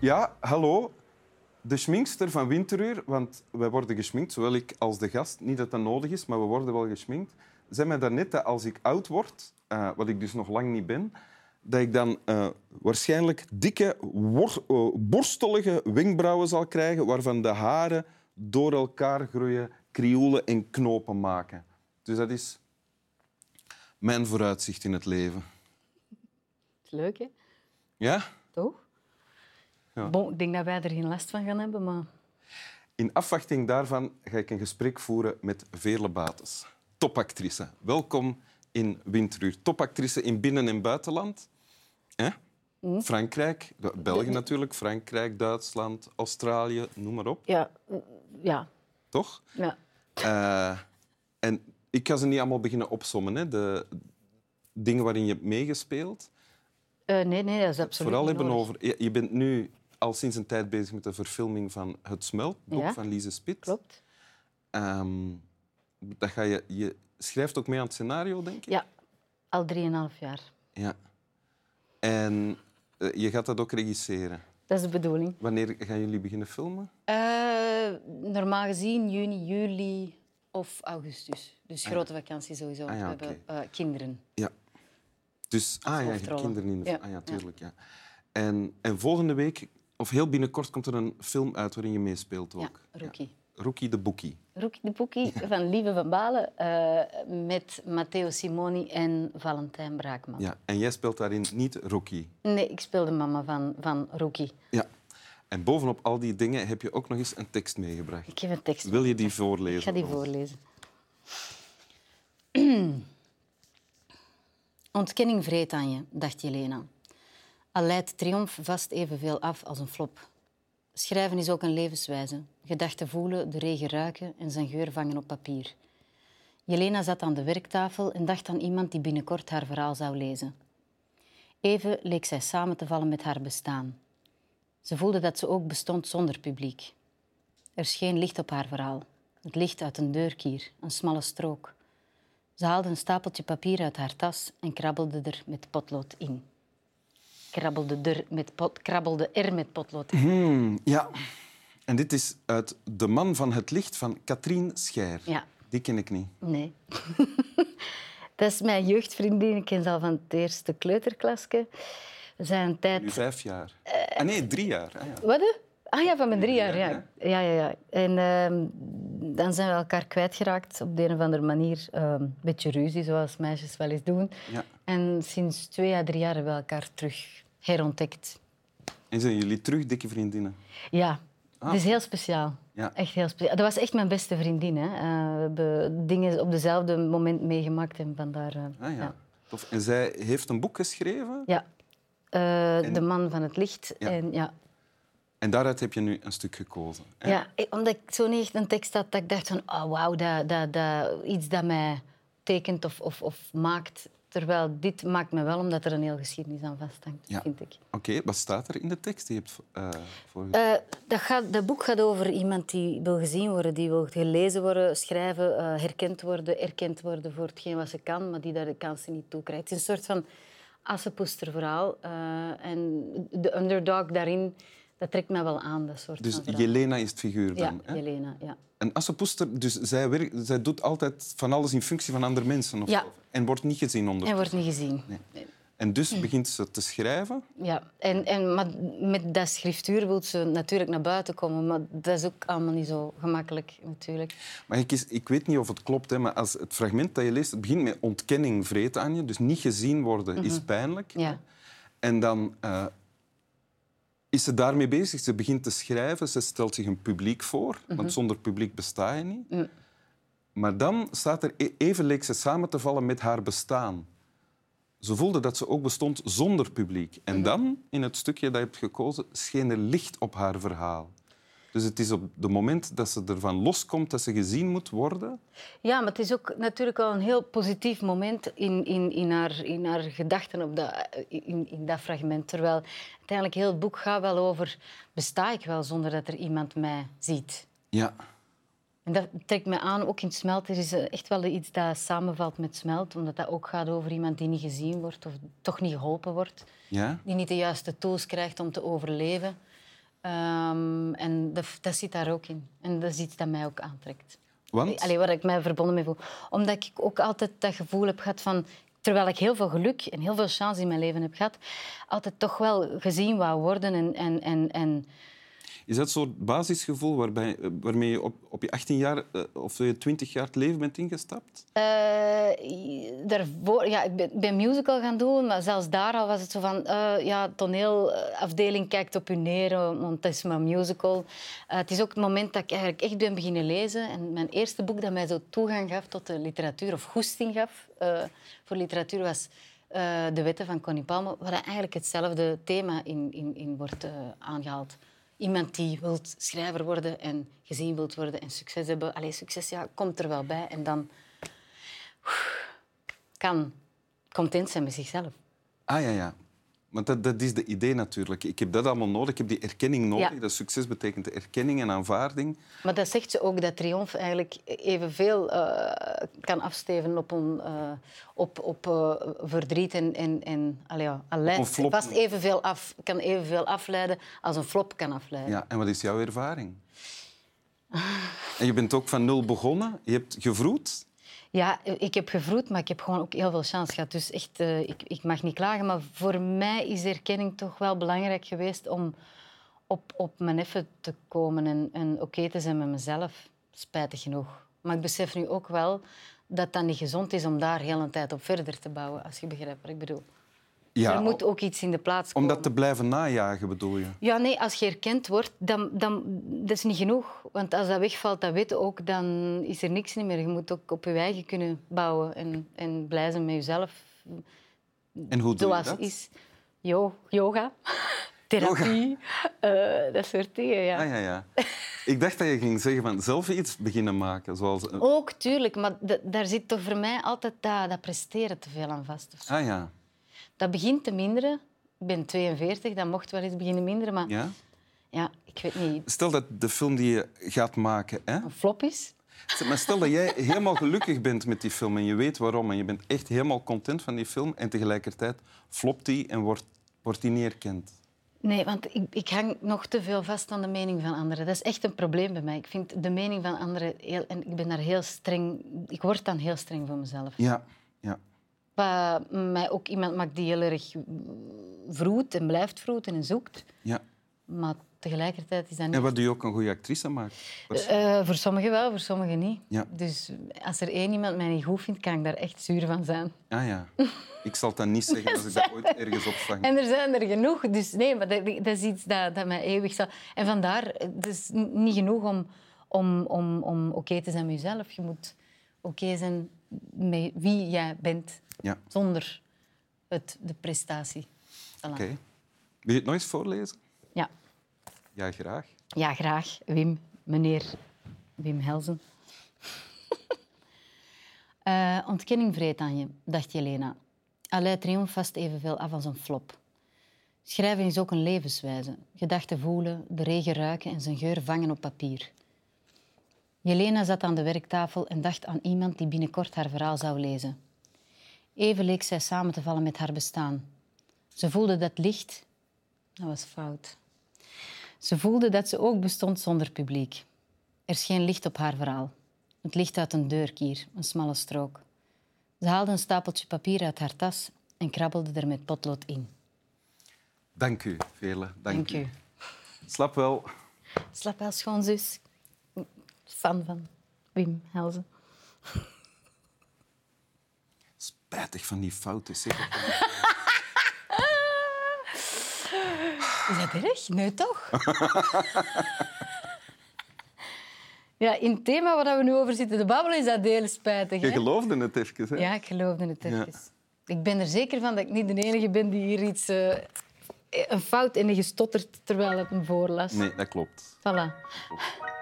Ja, hallo. De schminkster van Winteruur, want wij worden geschminkt, zowel ik als de gast. Niet dat dat nodig is, maar we worden wel geschminkt. Zei mij daarnet dat als ik oud word, eh, wat ik dus nog lang niet ben, dat ik dan eh, waarschijnlijk dikke, wor- eh, borstelige wenkbrauwen zal krijgen, waarvan de haren door elkaar groeien, krioelen en knopen maken. Dus dat is mijn vooruitzicht in het leven. is leuk, hè? Ja? Toch? Ja. Bon, ik denk dat wij er geen last van gaan hebben, maar In afwachting daarvan ga ik een gesprek voeren met Veerle Bates, topactrice. Welkom in Winteruur. Topactrice in binnen- en buitenland. Hè? Hm? Frankrijk, de- België natuurlijk, Frankrijk, Duitsland, Australië, noem maar op, ja, mm, ja, toch? ja. Eh, en ik ga ze niet allemaal beginnen opsommen, hè? de dingen waarin je hebt meegespeeld. Eh, nee, nee, dat is absoluut Vooral niet hebben nodig. over. Je, je bent nu al sinds een tijd bezig met de verfilming van Het Smeltboek Ja. van Lise Spit. Klopt. Ehm, dat ga je, je schrijft ook mee aan het scenario, denk ik. Ja, al drieënhalf jaar. Ja. En eh, je gaat dat ook regisseren. Dat is de bedoeling. Wanneer gaan jullie beginnen filmen? Eh, normaal gezien juni, juli of augustus. Dus grote vakantie sowieso. want Ah ja, we hebben eh, kinderen. Ja. Dus, ah ja, je hebt hoofdrollen. kinderen in de Ja. Ah ja, Ja. tuurlijk, ja. En, en volgende week, of heel binnenkort, komt er een film uit waarin je meespeelt ook. Ja, Rookie. Ja. Rookie de Boekie. Roekie de Poekie van Lieve van Balen eh, met Matteo Simoni en Valentijn Braakman. Ja. En jij speelt daarin niet Rookie. Nee, ik speelde mama van, van Roekie. Ja. En bovenop al die dingen heb je ook nog eens een tekst meegebracht. Ik heb een tekst. Wil je die voorlezen? Ik ga die Roos? voorlezen. Ontkenning vreet aan je, dacht Jelena. Al leidt triomf vast evenveel af als een flop. Schrijven is ook een levenswijze. Gedachten voelen, de regen ruiken en zijn geur vangen op papier. Jelena zat aan de werktafel en dacht aan iemand die binnenkort haar verhaal zou lezen. Even leek zij samen te vallen met haar bestaan. Ze voelde dat ze ook bestond zonder publiek. Er scheen licht op haar verhaal. Het licht uit een deurkier, een smalle strook. Ze haalde een stapeltje papier uit haar tas en krabbelde er met potlood in. Krabbelde er met, pot, krabbelde er met potlood in. Hmm. Ja, en dit is uit De Man van het Licht van Katrien Scheer. Ja, Die ken ik niet. nee. Dat is mijn jeugdvriendin. Ik ken ze al van het eerste kleuterklasje. We zijn een tijd... Nu vijf jaar. Eh, Ah nee, drie jaar. Ah, ja. Wat? hè? Ah ja, van mijn drie jaar, Ja, ja. Ja, ja, ja. En ehm, dan zijn we elkaar kwijtgeraakt op de een of andere manier. Ehm, Een beetje ruzie, zoals meisjes wel eens doen. Ja. En sinds twee à drie jaar hebben we elkaar terug herontdekt. En zijn jullie terug dikke vriendinnen? Ja, het is heel speciaal. Ah. Ja. Echt heel speciaal. Dat was echt mijn beste vriendin. Hè. Eh, we hebben dingen op dezelfde moment meegemaakt en vandaar... eh, Ah, ja. ja. Tof. En zij heeft een boek geschreven Ja. Eh, De man van het licht. Ja. En, ja, en daaruit heb je nu een stuk gekozen. hè? Ja, ik- omdat ik zo niet echt een tekst had dat ik dacht van, oh wauw, dat, dat, dat, iets dat mij tekent of, of, of maakt. Terwijl dit maakt me wel, omdat er een heel geschiedenis aan vasthangt, Ja. vind ik. Oké, wat staat er in de tekst die je hebt eh voor... Eh, dat, gaat, dat boek gaat over iemand die wil gezien worden, die wil gelezen worden, schrijven, eh, herkend worden, erkend worden voor hetgeen wat ze kan, maar die daar de kansen niet toe krijgt. Het is een soort van assenpoesterverhaal. eh en de underdog daarin, dat trekt mij wel aan, dat soort Dus van verhaal. Jelena is het figuur Ja, dan. hè? Jelena, ja. En Assepoester, dus zij, werkt, zij doet altijd van alles in functie van andere mensen. Of Ja. zo. En wordt niet gezien onder. En wordt niet gezien. En dus begint ze te schrijven. Ja, en, en, maar met dat schriftuur wil ze natuurlijk naar buiten komen, maar dat is ook allemaal niet zo gemakkelijk natuurlijk. Maar ik, is, ik weet niet of het klopt, hè, maar als het fragment dat je leest, het begint met ontkenning vreet aan je. Dus niet gezien worden is pijnlijk. Ja. En dan eh, is ze daarmee bezig. Ze begint te schrijven, ze stelt zich een publiek voor, want zonder publiek besta je niet. Maar dan staat er, e- even leek ze samen te vallen met haar bestaan. Ze voelde dat ze ook bestond zonder publiek. En dan, in het stukje dat je hebt gekozen, scheen er licht op haar verhaal. Dus het is op het moment dat ze ervan loskomt dat ze gezien moet worden. Ja, maar het is ook natuurlijk al een heel positief moment in, in, in, haar, in haar gedachten op dat, in, in dat fragment. Terwijl uiteindelijk heel het boek gaat wel over, besta ik wel zonder dat er iemand mij ziet? Ja. En dat trekt mij aan, ook in Smelt. Er is eh, echt wel iets dat samenvalt met Smelt, omdat dat ook gaat over iemand die niet gezien wordt of toch niet geholpen wordt. Ja? die niet de juiste tools krijgt om te overleven. Ehm, en dat, dat zit daar ook in. En dat is iets dat mij ook aantrekt. Want? Allee, waar ik mij verbonden mee voel. Omdat ik ook altijd dat gevoel heb gehad van... Terwijl ik heel veel geluk en heel veel chance in mijn leven heb gehad, altijd toch wel gezien wou worden en... en, en, en Is dat soort basisgevoel waarbij, eh, waarmee je op, op je 18 jaar eh, of je 20 jaar het leven bent ingestapt? eh, daarvoor, ja, ik ben, ben musical gaan doen, maar zelfs daar al was het zo van... eh, ja, toneelafdeling kijkt op u neer, eh, want het is maar musical. Eh, het is ook het moment dat ik eigenlijk echt ben beginnen lezen. En mijn eerste boek dat mij zo toegang gaf tot de literatuur, of goesting gaf eh, voor literatuur, was eh, De Wetten van Connie Palme, waar eigenlijk hetzelfde thema in, in, in wordt eh, aangehaald. Iemand die wilt schrijver worden en gezien wilt worden en succes hebben. Allee, succes ja, komt er wel bij. En dan kan content zijn met zichzelf. Ah ja, ja. Want dat, dat is de idee natuurlijk. Ik heb dat allemaal nodig. Ik heb die erkenning nodig. Ja. Dat succes betekent de erkenning en aanvaarding. Maar dat zegt ze ook, dat triomf eigenlijk evenveel eh, kan afsteven op, on, eh, op, op eh, verdriet en... en, en allee, ja, al leidt een flop. vast evenveel af, kan evenveel afleiden als een flop kan afleiden. Ja, en wat is jouw ervaring? En je bent ook van nul begonnen. Je hebt gevroed. Ja, ik heb gevroed, maar ik heb gewoon ook heel veel chance gehad. Dus echt, eh, ik, ik mag niet klagen. Maar voor mij is de erkenning toch wel belangrijk geweest om op, op mijn effen te komen en, en oké te zijn met mezelf. Spijtig genoeg. Maar ik besef nu ook wel dat dat niet gezond is om daar heel een tijd op verder te bouwen, als je begrijpt wat ik bedoel. er moet ook iets in de plaats om komen. dat te blijven najagen, bedoel je? Ja, nee, als je erkend wordt, dan, dan dat is niet genoeg. Want als dat wegvalt, dat weten ook, dan is er niks niet meer. Je moet ook op je eigen kunnen bouwen en, en blij zijn met jezelf. En hoe doe Zoals je dat? is jo- yoga, therapie, eh, dat soort dingen. Ja. Ah, ja, ja. Ik dacht dat je ging zeggen van zelf iets beginnen maken. Zoals... een- Ook, tuurlijk, maar da- daar zit toch voor mij altijd dat, dat presteren te veel aan vast. of zo. Ah ja. Dat begint te minderen. Ik ben 42, dat mocht wel eens beginnen minderen, maar ja, ja. ik weet niet, Stel dat de film die je gaat maken, hè? een flop is. Maar stel dat jij helemaal gelukkig bent met die film en je weet waarom en je bent echt helemaal content van die film en tegelijkertijd flopt die en wordt, wordt die niet erkend. Nee, want ik, ik hang nog te veel vast aan de mening van anderen. Dat is echt een probleem bij mij. Ik vind de mening van anderen heel... En ik ben daar heel streng... Ik word dan heel streng voor mezelf. Ja, ja. Wat mij ook iemand maakt die heel erg vroet en blijft vroeten en zoekt. ja. Maar tegelijkertijd is dat niet... En wat doe je ook een goede actrice maakt. Wat- Eh, voor sommigen wel, voor sommigen niet. Ja. Dus als er één iemand mij niet goed vindt, kan ik daar echt zuur van zijn. Ah ja. Ik zal dat niet zeggen als ik dat ooit ergens opvang. En er zijn er genoeg. Dus nee, maar dat, dat is iets dat, dat mij eeuwig zal... En vandaar, het is n- niet genoeg om, om, om, om oké te zijn met jezelf. Je moet oké zijn met wie jij bent, Ja, zonder het, de prestatie. Voilà. oké. Wil je het nog eens voorlezen? Ja. Ja, graag. ja, graag. Wim, meneer Wim Helzen. Eh, ontkenning vreet aan je, dacht Jelena. Allee triomf vast evenveel af als een flop. Schrijven is ook een levenswijze. Gedachten voelen, de regen ruiken en zijn geur vangen op papier. Jelena zat aan de werktafel en dacht aan iemand die binnenkort haar verhaal zou lezen. Even leek zij samen te vallen met haar bestaan. Ze voelde dat licht... Dat was fout. Ze voelde dat ze ook bestond zonder publiek. Er scheen licht op haar verhaal. Het licht uit een deurkier, een smalle strook. Ze haalde een stapeltje papier uit haar tas en krabbelde er met potlood in. Dank u, Vele. Dank, Dank u. Slap wel. Slap wel schoon, zus. Fan van Wim Helzen. Spijtig van die fouten. Zeg. Is dat erg? Nee, toch? ja, in het thema waar we nu over zitten te babbelen is dat heel spijtig. Je Hè? geloofde het even, hè? Ja, ik geloofde het even. Ik ben er zeker van dat ik niet de enige ben die hier iets... eh, een fout en een gestotterd terwijl het hem voorlas. Nee, dat klopt. Voilà.